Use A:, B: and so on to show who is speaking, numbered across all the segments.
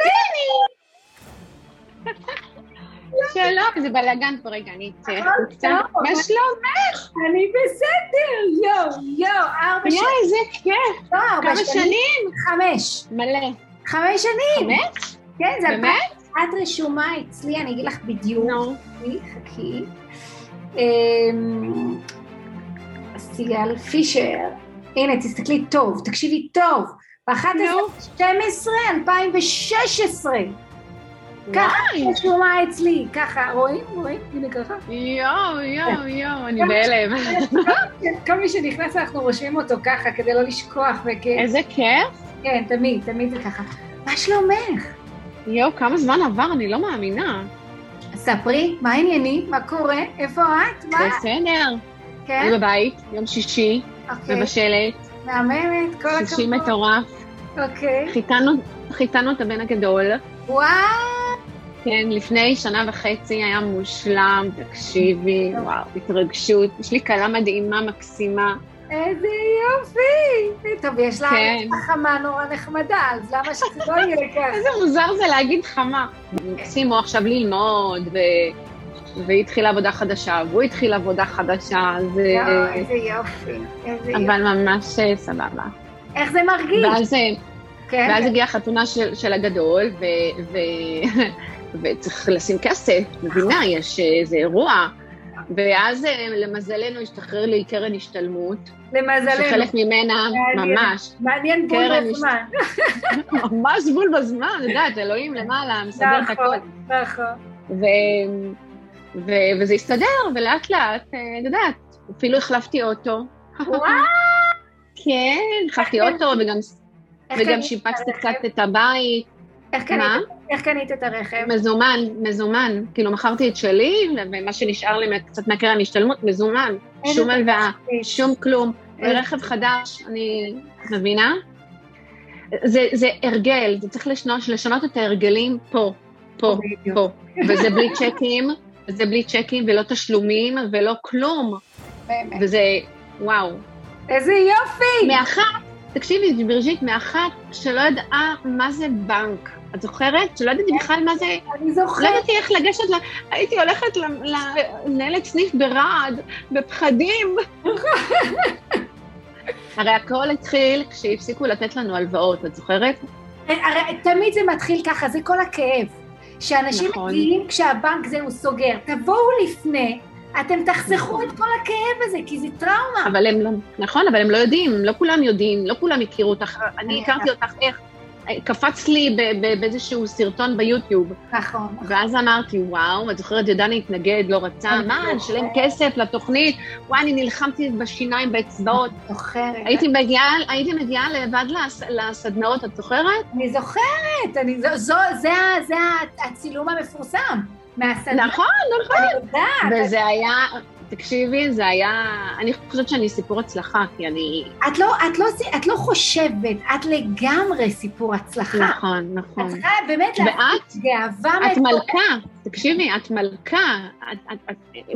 A: הנה!
B: שלום, זה בלאגן פה רגע, אני אצא לא,
A: הכל
B: החוצה.
A: טוב.
B: מה שלומך?
A: אני בסדר, יואו, יואו, ארבע
B: יואי,
A: שנים,
B: איזה כיף.
A: לא, ארבע
B: כמה שנים?
A: חמש.
B: מלא.
A: חמש שנים.
B: באמת?
A: כן, זה
B: באמת?
A: אלפיים. את רשומה אצלי, אני אגיד לך בדיוק.
B: נו.
A: חכי, חכי. אמ, סיגל פישר. הנה, תסתכלי טוב, תקשיבי טוב.
B: נו.
A: ב-11-12-2016. ככה
B: וואי.
A: רשומה אצלי, ככה, כן. רואים? רואים? הנה ככה.
B: יואו, יואו, יואו, אני בהלם.
A: כל מי שנכנס אנחנו רושמים אותו ככה כדי לא לשכוח, וכן,
B: איזה כיף.
A: כן, תמיד, תמיד זה ככה. מה שלומך?
B: יואו, כמה זמן עבר, אני לא מאמינה.
A: ספרי, מה העניינים? מה קורה? איפה את? מה?
B: בסדר.
A: כן?
B: אני בבית, יום שישי,
A: אוקיי,
B: מבשלת,
A: מהממת, כל
B: שישי
A: הכבוד.
B: מטורף.
A: אוקיי.
B: חיתנו- חיתנו את הבן הגדול.
A: וואו,
B: כן, לפני שנה וחצי היה מושלם, תקשיבי, וואו, התרגשות. יש לי כלה מדהימה, מקסימה.
A: איזה יופי. טוב, יש לה
B: כן.
A: חמה נורא נחמדה, אז למה שזה לא יהיה ככה?
B: איזה מוזר זה להגיד חמה. מקסימו עכשיו ללמוד, ו... והיא התחילה עבודה חדשה, והוא התחיל עבודה חדשה,
A: יואו,
B: אז... אה,
A: איזה יופי, איזה יופי.
B: אבל ממש אה, סבבה.
A: איך זה מרגיש?
B: ואז, אה,
A: כן,
B: ואז הגיעה החתונה של, של הגדול, ו, ו, וצריך לשים כסף, מבינה, יש אה, איזה אירוע. ואז אה, למזלנו השתחרר לי קרן השתלמות,
A: למזלנו.
B: שחלק ממנה
A: מעניין.
B: ממש,
A: מעניין בול
B: קרן,
A: בזמן.
B: ממש בול בזמן, את יודעת, אלוהים למעלה, מסדר את הכל.
A: נכון, נכון.
B: ו... ו... וזה הסתדר, ולאט לאט, אה, את יודעת, אפילו החלפתי אוטו.
A: וואו.
B: כן, החלפתי
A: איך
B: אוטו, וגם,
A: איך
B: וגם
A: קנית
B: שיפצתי
A: את הרכב?
B: קצת את הבית.
A: איך קנית-
B: מה?
A: איך קנית את הרכב?
B: מזומן, מזומן. כאילו, מכרתי את שלי, ומה שנשאר לי מה- קצת מהקרן השתלמות, מזומן.
A: איזה
B: שום
A: דבר
B: הלוואה,
A: מדהים.
B: שום כלום.
A: איזה-
B: ורכב חדש, אני מבינה? זה, זה הרגל, זה צריך לשנות, לשנות את ההרגלים פה, פה.
A: בדיוק.
B: פה. וזה בלי צ'קים, וזה בלי צ'קים ולא תשלומים ולא כלום.
A: באמת.
B: וזה, וואו.
A: איזה יופי!
B: מאחת, תקשיבי, ברג'ית, מאחת שלא ידעה מה זה בנק. את זוכרת? שלא ידעתי בכלל מה זה...
A: אני
B: לא
A: כן. זוכרת.
B: ידעתי איך לגשת ל... הייתי הולכת ל- ל- למנהלת סניף ברעד, בפחדים. הרי הכל התחיל כשהפסיקו לתת לנו הלוואות, את זוכרת?
A: הרי אה, תמיד זה מתחיל ככה, זה כל הכאב. שאנשים
B: נכון.
A: מגיעים כשהבנק זהו סוגר. תבואו לפני, אתם תחסכו את כל הכאב הזה, כי זה טראומה.
B: אבל הם לא, נכון, אבל הם לא יודעים, לא כולם יודעים, לא כולם הכירו אותך. אני
A: אני-
B: הכרתי אותך איך, קפץ לי ב- ב- באיזשהו סרטון ביוטיוב,
A: נכון.
B: ואז אמרתי, וואו, את זוכרת, ידני התנגד, לא רצה,
A: אני
B: מה,
A: זוכרת.
B: נשלם כסף לתוכנית, וואי, אני נלחמתי בשיניים, באצבעות.
A: אוקיי. זוכרת.
B: הייתי מגיעה, הייתי מגיעה לבד לס- לסדנאות, את זוכרת?
A: אני זוכרת. אני- זו- זו- זה ה- זה ה- הצילום המפורסם. מהסדנה.
B: נכון, נכון.
A: אני יודעת.
B: וזה היה, תקשיבי, זה היה, אני חושבת שאני סיפור הצלחה, כי אני...
A: את לא, את, לא, את לא חושבת, את לגמרי סיפור הצלחה.
B: נכון,
A: את
B: נכון.
A: צריכה באמת להפעיל
B: ואת?
A: גאווה
B: את מלכה, תקשיבי, את מלכה. את- את- את-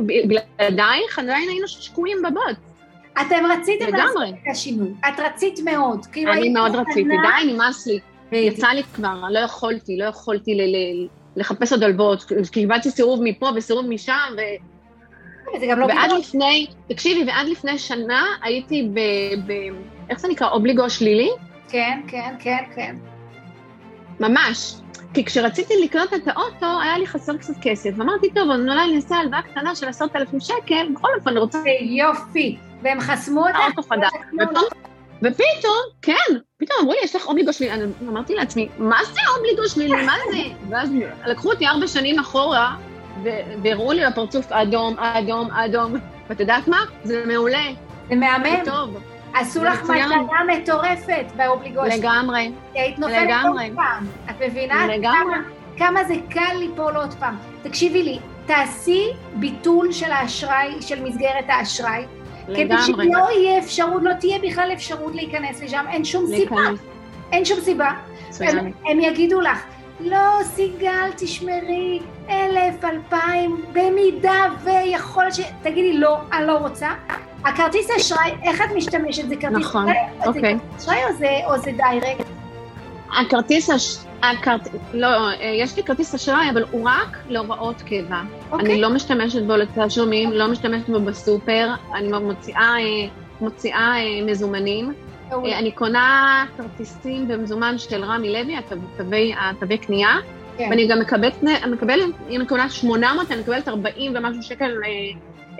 B: בלעדייך עדיין היינו שקועים בבוץ,
A: אתם רציתם לעשות
B: לגמרי.
A: את השינוי, את רצית מאוד. כאילו
B: אני
A: היית
B: מאוד
A: מוכנה-
B: רציתי, די, נמאס לי.
A: בדיוק.
B: יצא לי כבר, לא יכולתי, לא יכולתי ל- ל- לחפש עוד הלוואות. קיבלתי סירוב מפה וסירוב משם, ו-
A: זה גם לא
B: ועד
A: פתאום.
B: לפני, תקשיבי, ועד לפני שנה הייתי ב... ב- איך זה נקרא? אובליגו שלילי?
A: כן, כן, כן, כן.
B: ממש. כי כשרציתי לקנות את האוטו, היה לי חסר קצת כסף. אמרתי, טוב, אז אולי אני אעשה הלוואה קטנה של עשרת אלפים שקל, בכל אופן, אני רוצה
A: זה יופי. והם חסמו אותך?
B: האוטו חדש.
A: לא,
B: ופתאום- ופתאום, כן, פתאום אמרו לי, יש לך אובליגו שלילי. אני אמרתי לעצמי, מה זה אובליגו שלילי? מה זה? ואז לקחו אותי ארבע שנים אחורה, ו- והראו לי בפרצוף אדום, אדום, אדום. ואת יודעת מה? זה מעולה,
A: זה
B: זה
A: מהמם.
B: טוב,
A: עשו
B: זה
A: לך
B: מצוין.
A: מתנה מטורפת באובליגושי.
B: לגמרי,
A: כי היית נופלת עוד
B: לגמרי.
A: פעם. את מבינה?
B: לגמרי.
A: כמה- כמה זה קל ליפול עוד פעם. תקשיבי לי, תעשי ביטול של האשראי, של מסגרת האשראי, כדי
B: לגמרי.
A: שלא יהיה אפשרות, לא תהיה בכלל אפשרות להיכנס לשם, אין שום סיבה,
B: להיכנס.
A: אין שום סיבה.
B: מצוין.
A: הם, הם יגידו לך, לא, סיגל, תשמרי, אלף, אלפיים, במידה ויכול ש... תגידי, לא, אני לא רוצה. הכרטיס אשראי, איך את משתמשת? זה כרטיס
B: נכון,
A: אשראי?
B: אוקיי.
A: זה כרטיס אשראי או זה, או זה דיירקט?
B: הכרטיס, הש... הכרט... לא, יש לי כרטיס אשראי, אבל הוא רק להוראות קבע.
A: אוקיי.
B: אני לא משתמשת בו לתשלומים, לא משתמשת בו בסופר, אני מוציאה, אה, מוציאה אה, מזומנים.
A: מעולה.
B: אה, אני קונה כרטיסים במזומן של רמי לוי, התו- תווי- התווי קנייה,
A: כן.
B: ואני גם מקבלת, מקבלת, אם אני קונה 800, אני מקבלת 40 ומשהו שקל אה,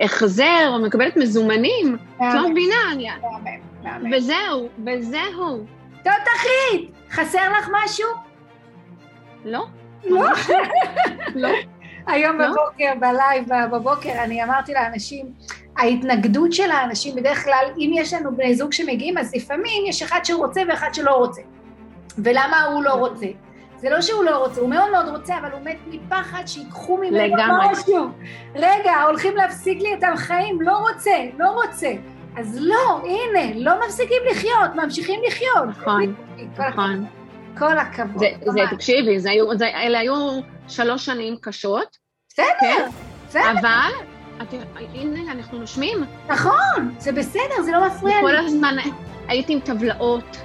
B: החזר, או מקבלת מזומנים. את
A: אוקיי.
B: לא מבינה, אני-
A: מהמם, מהמם.
B: וזהו, וזהו.
A: תותחית, חסר לך משהו?
B: לא,
A: לא.
B: לא.
A: היום
B: לא?
A: בבוקר, בלייב בבוקר, אני אמרתי לאנשים, ההתנגדות של האנשים, בדרך כלל, אם יש לנו בני זוג שמגיעים, אז לפעמים יש אחד שרוצה ואחד שלא רוצה. ולמה הוא לא רוצה? זה לא שהוא לא רוצה, הוא מאוד מאוד רוצה, אבל הוא מת מפחד שיקחו ממנו
B: לגמרי.
A: משהו. רגע, הולכים להפסיק לי את החיים, לא רוצה, לא רוצה. אז לא, הנה, לא מפסיקים לחיות, ממשיכים לחיות.
B: נכון,
A: כל הכבוד,
B: נכון.
A: כל הכבוד.
B: זה- זה,
A: ממש.
B: תקשיבי, זה היו- זה- אלה היו שלוש שנים קשות,
A: בסדר,
B: כן.
A: בסדר.
B: אבל את- הנה, אנחנו נושמים.
A: נכון, זה בסדר, זה לא מפריע
B: כל
A: לי.
B: הזמן הייתי עם טבלאות,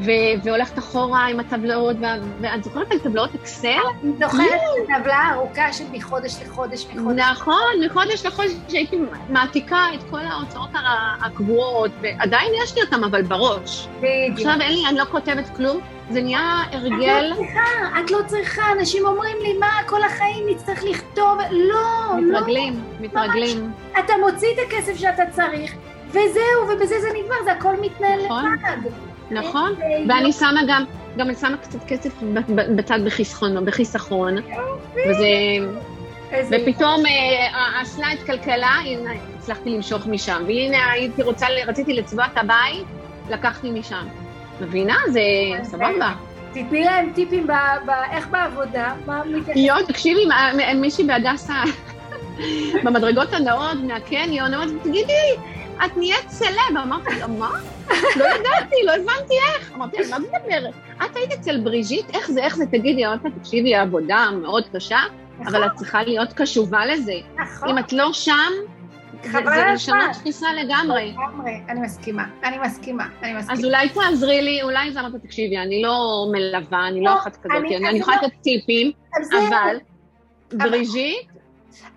B: ו- והולכת אחורה עם הטבלאות, וה- ואת זוכרת על טבלאות אקסל?
A: אני זוכרת את הטבלה הארוכה של מחודש לחודש, מחודש.
B: נכון, מחודש לחודש שהייתי מעתיקה את כל ההוצאות הר- הקבועות, ועדיין יש לי אותן, אבל בראש.
A: בדיוק.
B: עכשיו אין לי, אני לא כותבת כלום, זה נהיה הרגל.
A: אה, את לא צריכה, אנשים אומרים לי, מה, כל החיים נצטרך לכתוב, לא, לא.
B: מתרגלים, מתרגלים.
A: אתה מוציא את הכסף שאתה צריך, וזהו, ובזה זה נגמר, זה הכל מתנהל
B: נכון.
A: לבד. אה,
B: נכון.
A: בדיוק.
B: ואני שמה גם, גם אני שמה קצת כסף ב- ב- בצד בחיסכון, בחיסכון. וזה,
A: איזה
B: ופתאום אה, ה- הסלייד כלכלה, הנה, הצלחתי למשוך משם. והנה, הייתי רוצה, ל- רציתי לצבוע את הבית, לקחתי משם. מבינה? זה
A: יפה.
B: סבבה.
A: תתני להם טיפים, ב- ב- איך בעבודה, מה מתייחס?
B: יואו, תקשיבי, מה- מ- מישהי בהדסה, במדרגות הנאות מהקניון, אמרתי, תגידי, את נהיית סלב. אמרתי לה, מה? לא ידעתי, לא הבנתי איך. אמרתי לה, מה את מדברת? את היית אצל בריז'יט, איך זה, איך זה? תגידי, אמרתי לה, תקשיבי, העבודה מאוד קשה, אבל את צריכה להיות קשובה לזה.
A: נכון,
B: אם את לא שם, זה-
A: חבל על
B: זה
A: הזמן.
B: לשנות תפיסה לגמרי.
A: לגמרי, אני מסכימה, אני מסכימה, אני
B: אז
A: מסכימה.
B: אולי תעזרי לי, אולי זה אמרת, תקשיבי, אני לא מלווה, אני
A: לא,
B: לא אחת כזאת,
A: אני-
B: אני
A: אני
B: אני יכולה
A: לא-
B: לתת טיפים,
A: אז זהו.
B: אבל בריז'יט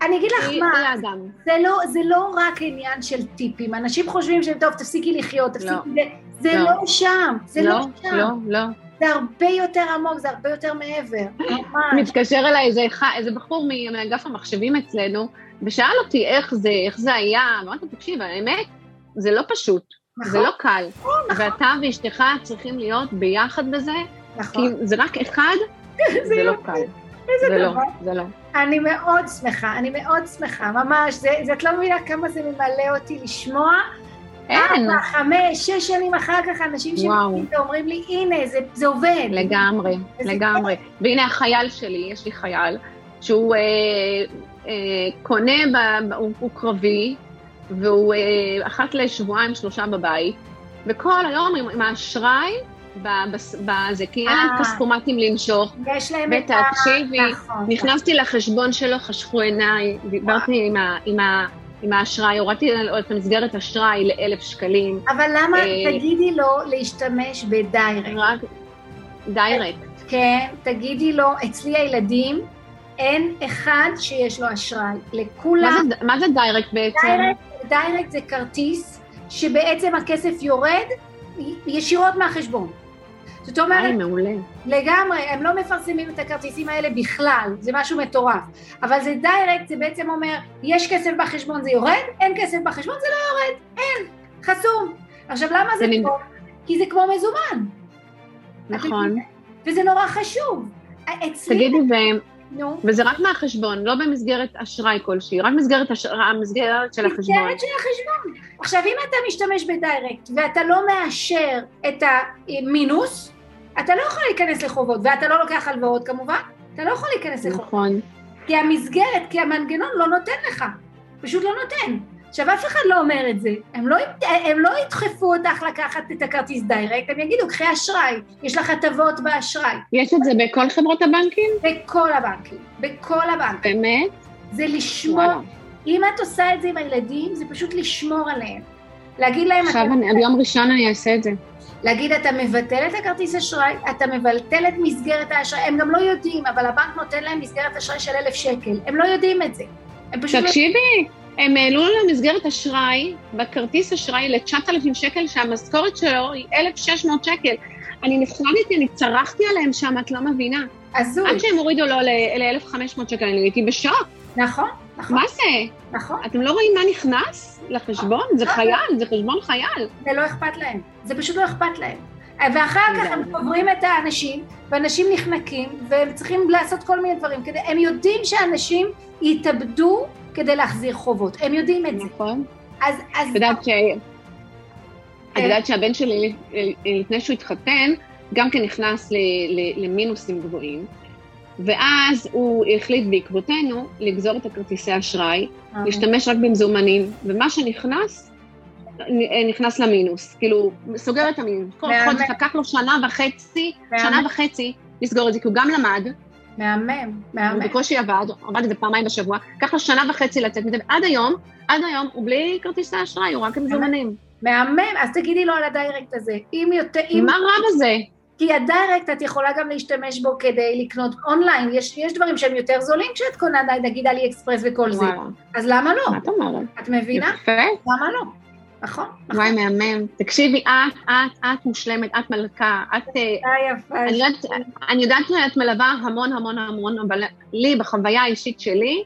A: אני אגיד לך
B: היא
A: מה,
B: היא האדם.
A: זה לא, זה לא רק עניין של טיפים, אנשים חושבים שהם טוב, תפסיקי לחיות, תפסיקי, זה, זה
B: לא.
A: לא שם, זה לא, שם,
B: לא, אה, לא.
A: זה הרבה יותר עמוק, זה הרבה יותר מעבר, ממש,
B: מתקשר אליי איזה, אחד- איזה בחור מ- מאגף המחשבים אצלנו, ושאל אותי איך זה, איך זה היה, אמרתי, תקשיב, האמת, זה לא פשוט, זה
A: נכון,
B: לא קל,
A: נכון,
B: ואתה ואשתך צריכים להיות ביחד בזה, כי
A: נכון,
B: זה רק אחד, זה לא
A: יופי.
B: קל.
A: איזה
B: זה לא,
A: דבר.
B: זה לא.
A: אני מאוד שמחה, אני מאוד שמחה, ממש, זה, זה, את לא מבינה כמה זה ממלא אותי לשמוע,
B: אין,
A: ארבע, חמש, שש שנים אחר כך אנשים
B: וואו.
A: שמגיעים ואומרים לי, הנה, זה, זה עובד,
B: לגמרי,
A: איזה
B: לגמרי. והנה החייל שלי, יש לי חייל, שהוא אה, אה, קונה, ב, ב- הוא, הוא קרבי, והוא אה, אחת לשבועיים, שלושה בבית, וכל היום עם, עם האשראי ב- בס- בזה, כי אין
A: אה.
B: להם כספומטים למשוך.
A: יש להם את ה...
B: ותקשיבי,
A: נכון,
B: נכנסתי לחשבון שלו, חשכו עיניי, דיברתי עם, ה, עם, ה, עם האשראי, הורדתי לו את המסגרת אשראי לאלף שקלים,
A: אבל למה,
B: אה,
A: תגידי לו להשתמש בדיירקט?
B: רק דיירקט.
A: כן, תגידי לו, אצלי הילדים, אין אחד שיש לו אשראי.
B: מה
A: לכולם,
B: זה- מה זה דיירקט בעצם?
A: דיירקט, דיירקט זה כרטיס שבעצם הכסף יורד ישירות מהחשבון. זאת אומרת,
B: היי, אוקיי, מעולה.
A: לגמרי, הם לא מפרסמים את הכרטיסים האלה בכלל, זה משהו מטורף. אבל זה דיירקט, זה בעצם אומר, יש כסף בחשבון זה יורד, אין כסף בחשבון זה לא יורד, אין, חסום. עכשיו, למה זה
B: זה נמ-
A: פה? כי זה כמו מזומן,
B: נכון.
A: וזה נורא חשוב. אצלי,
B: תגידי, ו-
A: נו.
B: וזה רק מהחשבון, לא במסגרת אשראי כלשהי, רק מסגרת אש- המסגרת של החשבון.
A: מסגרת כן, של החשבון. עכשיו, אם אתה משתמש בדיירקט ואתה לא מאשר את המינוס, אתה לא יכול להיכנס לחובות, ואתה לא לוקח הלוואות כמובן, אתה לא יכול להיכנס לחובות,
B: נכון,
A: כי המסגרת, כי המנגנון לא נותן לך, פשוט לא נותן. עכשיו, אף אחד לא אומר את זה, הם לא, ית- הם לא ידחפו אותך לקחת את הכרטיס דיירקט, הם יגידו, קחי אשראי, יש לך הטבות באשראי,
B: יש את זה בכל חברות הבנקים?
A: בכל הבנקים, בכל הבנקים.
B: באמת?
A: זה לשמור
B: וואלה.
A: אם את עושה את זה עם הילדים, זה פשוט לשמור עליהם. להגיד להם,
B: עכשיו, אני- ביום ראשון אני אעשה את זה.
A: להגיד, אתה מבטל את הכרטיס אשראי, אתה מבטל את מסגרת האשראי, הם גם לא יודעים, אבל הבנק נותן להם מסגרת אשראי של אלף שקל, הם לא יודעים את זה. הם פשוט... לא-
B: תקשיבי, הם העלו לו מסגרת אשראי, בכרטיס אשראי ל-9,000 שקל, שהמשכורת שלו היא 1,600 שקל. אני נפרדתי, אני צרחתי עליהם שם, את לא מבינה.
A: הזוי,
B: עד שהם הורידו לו ל- ל-1,500 שקל, אני הייתי בשוק.
A: נכון, נכון,
B: מה זה?
A: נכון,
B: אתם לא רואים מה נכנס לחשבון? זה חייל, זה חשבון חייל.
A: זה לא אכפת להם, זה פשוט לא אכפת להם. ואחר כך הם קוברים את האנשים, ואנשים נחנקים, והם צריכים לעשות כל מיני דברים. כדי, הם יודעים שאנשים יתאבדו כדי להחזיר חובות, הם יודעים את זה.
B: נכון.
A: אז, אז,
B: את יודעת ש... את יודעת שהבן שלי, לפני שהוא התחתן, גם כן נכנס ל- ל- למינוסים גבוהים, ואז הוא החליט בעקבותינו לגזור את הכרטיסי אשראי, להשתמש רק במזומנים, ומה שנכנס, נ- נכנס למינוס. כאילו, סוגר את המינוס. כל
A: מהמם.
B: חודש לקח לו שנה וחצי,
A: מהמם.
B: שנה וחצי לסגור את זה, כי הוא גם למד,
A: מהמם,
B: הוא
A: מהמם.
B: בקושי עבד, עבד איזה פעמיים בשבוע, לקח לו שנה וחצי לצאת מזה, ועד היום, עד היום הוא בלי כרטיסי אשראי, הוא רק עם מזומנים.
A: מהמם, אז תגידי לו על הדיירקט הזה. אם יותר, אם...
B: מה רע בזה?
A: כי הדיירקט את יכולה גם להשתמש בו כדי לקנות אונליין, יש, יש דברים שהם יותר זולים כשאת קונה, די- נגיד עלי אקספרס וכל זה.
B: וואלה,
A: אז למה לא?
B: מה את אומרת?
A: את מבינה?
B: יפה,
A: למה לא? נכון, נכון.
B: וואי מהמם. תקשיבי, את, את, את מושלמת, את מלכה, את... אה,
A: אה, יפה.
B: אני יודעת- אני יודעת שאת מלווה המון המון המון, אבל לי, בחוויה האישית שלי,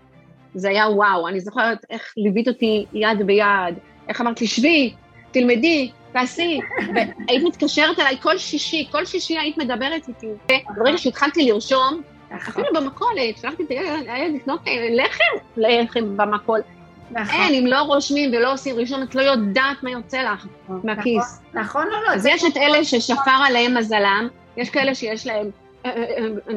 B: זה היה וואו. אני זוכרת איך ליווית אותי יד ביד, איך אמרת לי, שבי, תלמדי, תעשי. והיית מתקשרת אליי כל שישי, כל שישי היית מדברת איתי. ברגע שהתחלתי לרשום,
A: נכון,
B: אפילו במכולת, שלחתי את הילד הילד לקנות אה, לחם, לחם במכולת.
A: נכון,
B: אין, אם לא רושמים ולא עושים ראשון, את לא יודעת מה יוצא לך מהכיס.
A: נכון או לא?
B: אז
A: זה-
B: יש את אלה ששפר עליהם מזלם, יש כאלה שיש להם אה, אה, אה, אה,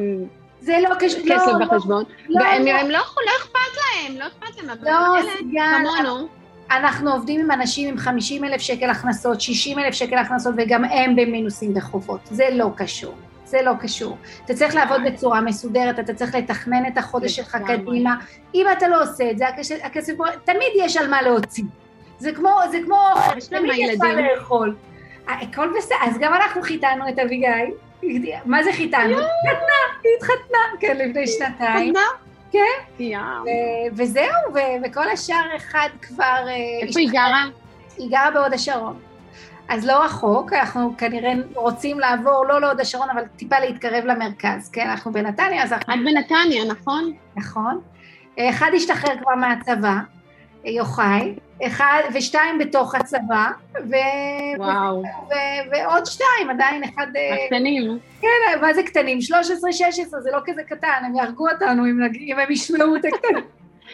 A: זה לא קשור, לא,
B: כסף
A: לא,
B: בחשבון,
A: לא,
B: והם
A: לא.
B: הם לא יכול- לא אכפת להם, לא אכפת להם, אבל
A: לא,
B: אלה
A: סיגל,
B: כמונו,
A: אנחנו עובדים עם אנשים עם 50 אלף שקל הכנסות, 60 אלף שקל הכנסות, וגם הם במינוסים וחובות. זה לא קשור. זה לא קשור. אתה צריך לעבוד בצורה מסודרת, אתה צריך לתכנן את החודש שלך
B: לגמרי.
A: קדימה. אם אתה לא עושה את זה, הכסף, הכסף פה- תמיד יש על מה להוציא. זה כמו, זה כמו אוכל,
B: יש להם
A: תמיד יש מה
B: ילדים.
A: לאכול. אה, הכל בסדר, אז גם אנחנו חיתנו את אביגיל. מה זה חיתנו?
B: אה!
A: היא התחתנה, היא התחתנה, כן, לפני שנתיים.
B: כן. יואו.
A: ו- וזהו, ו- וכל השאר אחד כבר... אה,
B: איפה היא גרה?
A: היא גרה בהוד השרון. אז לא רחוק, אנחנו כנראה רוצים לעבור לא להוד השרון, אבל טיפה להתקרב למרכז, כן? אנחנו בנתניה, אז אנחנו...
B: את בנתניה, נכון?
A: נכון. אחד השתחרר כבר מהצבא, יוחאי, אחד, ושתיים בתוך הצבא, ו... כן.
B: וואו,
A: ו- ועוד שתיים, עדיין אחד... אה,
B: הקטנים.
A: כן, מה זה קטנים? 13-16, זה לא כזה קטן, הם יהרגו אותנו אם, נג- אם הם ישמעו את הקטנים.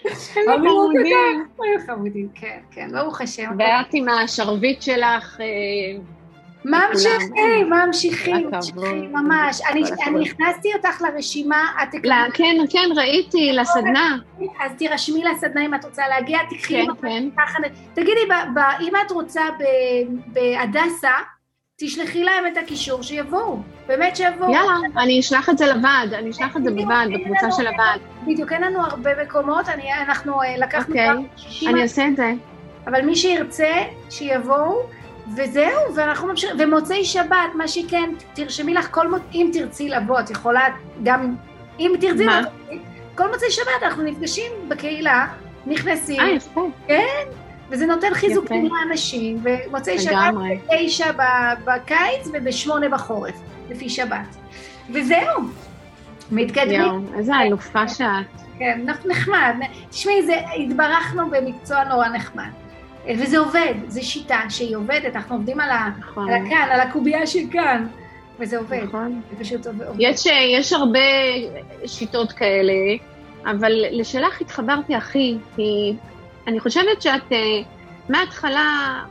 B: איזה
A: אבל הוא
B: חמודים.
A: קטן, היו חמודים, כן, כן, ברוך השם.
B: ואת עם השרביט שלך, אה,
A: ממשיכים, ממשיכים,
B: כל הכבוד.
A: ממשיכים, ממש. אני-
B: כל הכבוד.
A: אני הכנסתי אותך לרשימה, את תקראי,
B: ל- כן, כן, ראיתי, לסדנה.
A: אז תירשמי לסדנה אם את רוצה להגיע, תקחי,
B: כן,
A: ממש
B: כן.
A: ככה. תגידי, ב- ב- אם את רוצה ב- בהדסה, תשלחי להם את הקישור, שיבואו, באמת שיבואו.
B: יאללה, אני אשלח את זה לוועד, אני אשלח את זה בוועד, בקבוצה של הוועד.
A: בדיוק, אין לנו הרבה מקומות, אני- אנחנו אה, לקחנו
B: אוקיי.
A: כבר 60,
B: אני אעשה את זה.
A: אבל מי שירצה, שיבואו, וזהו, ואנחנו ממשיכים, ומוצאי שבת, מה שכן, תרשמי לך כל מוצאי, אם תרצי לבוא, את יכולה גם, אם תרצי
B: מה?
A: לבוא, כל מוצאי שבת אנחנו נפגשים בקהילה, נכנסים,
B: אה, יפה,
A: וזה נותן חיזוקים
B: יפה.
A: לאנשים, ומוצאי שבת
B: לגמרי.
A: תשע ב- בקיץ ובשמונה בחורף, לפי שבת. וזהו, מתקדמים.
B: יואו, איזה אלופה שאת.
A: כן, נח- נחמד. תשמעי, זה- התברכנו במקצוע נורא נחמד. וזה עובד, זו שיטה שהיא עובדת, אנחנו עובדים על, ה,
B: נכון.
A: על הכאן, על הקובייה שכאן, וזה עובד,
B: נכון.
A: זה פשוט עובד.
B: יש, אה, יש הרבה שיטות כאלה, אבל לשלך התחברתי הכי, כי אני חושבת שאת אה, מההתחלה, אה,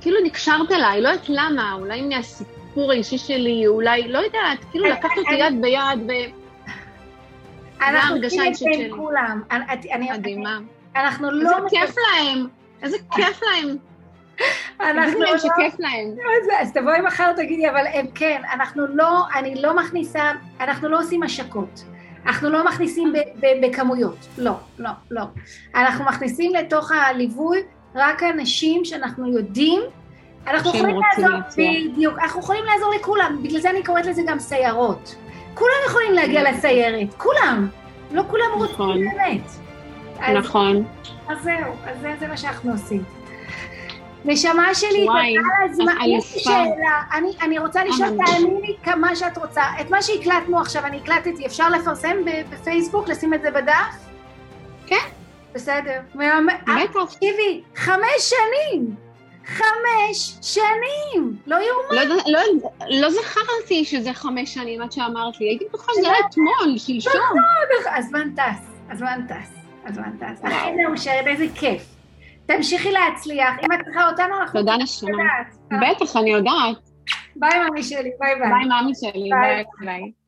B: כאילו נקשרת אליי, לא יודעת למה, אולי מהסיפור האישי שלי, אולי, לא יודעת, כאילו
A: אני-
B: לקחת אותי
A: אני-
B: יד ביד
A: אנחנו
B: ההרגשה
A: עושים את זה
B: האישית שלי.
A: עם כולם. אני- אני- אני-
B: ומדהימה.
A: אנחנו
B: איזה
A: לא...
B: כיף להם, איזה כיף להם.
A: אנחנו
B: אנחנו להם
A: לא...
B: שכיף להם.
A: זה, אז תבואי מחר תגידי, אבל הם כן, אנחנו לא, אני לא מכניסה, אנחנו לא עושים השקות. אנחנו לא מכניסים ב, ב, בכמויות, לא, לא, לא. אנחנו מכניסים לתוך הליווי רק אנשים שאנחנו יודעים, אנחנו
B: שהם
A: יכולים
B: רוצים
A: לעזור,
B: להצליח.
A: בדיוק, אנחנו יכולים לעזור לכולם, בגלל זה אני קוראת לזה גם סיירות. כולם יכולים להגיע לסיירת, כולם. לא כולם
B: נכון.
A: רוצים באמת. אז-
B: נכון.
A: אז זהו, אז זה- זה מה שאנחנו עושים. נשמה שלי,
B: וואי, אה.
A: תודה על הזמן.
B: את
A: יש לי
B: אלופה.
A: שאלה, אני- אני רוצה לשאול,
B: אמנון.
A: תעני לי כמה שאת רוצה. את מה שהקלטנו עכשיו, אני הקלטתי, אפשר לפרסם ב- בפייסבוק, לשים את זה בדף?
B: כן.
A: בסדר. מהמם.
B: בטח.
A: תקשיבי, חמש שנים! חמש שנים! לא יאומן.
B: לא יודע- לא יודע- לא זכרתי שזה חמש שנים עד שאמרת לי, הייתי בטוחה שזה היה אתמול, שלשום.
A: הזמן טס, הזמן טס, הזמן טס.
B: וואו.
A: אחי מאושרת, איזה כיף. תמשיכי להצליח. אם את צריכה אותנו, אנחנו
B: תודה נשמה.
A: יודעת.
B: בטח, אני יודעת.
A: ביי, מאמי שלי, ביי ביי.
B: ביי, מאמי שלי.
A: כן. ביי.
B: ביי. ביי.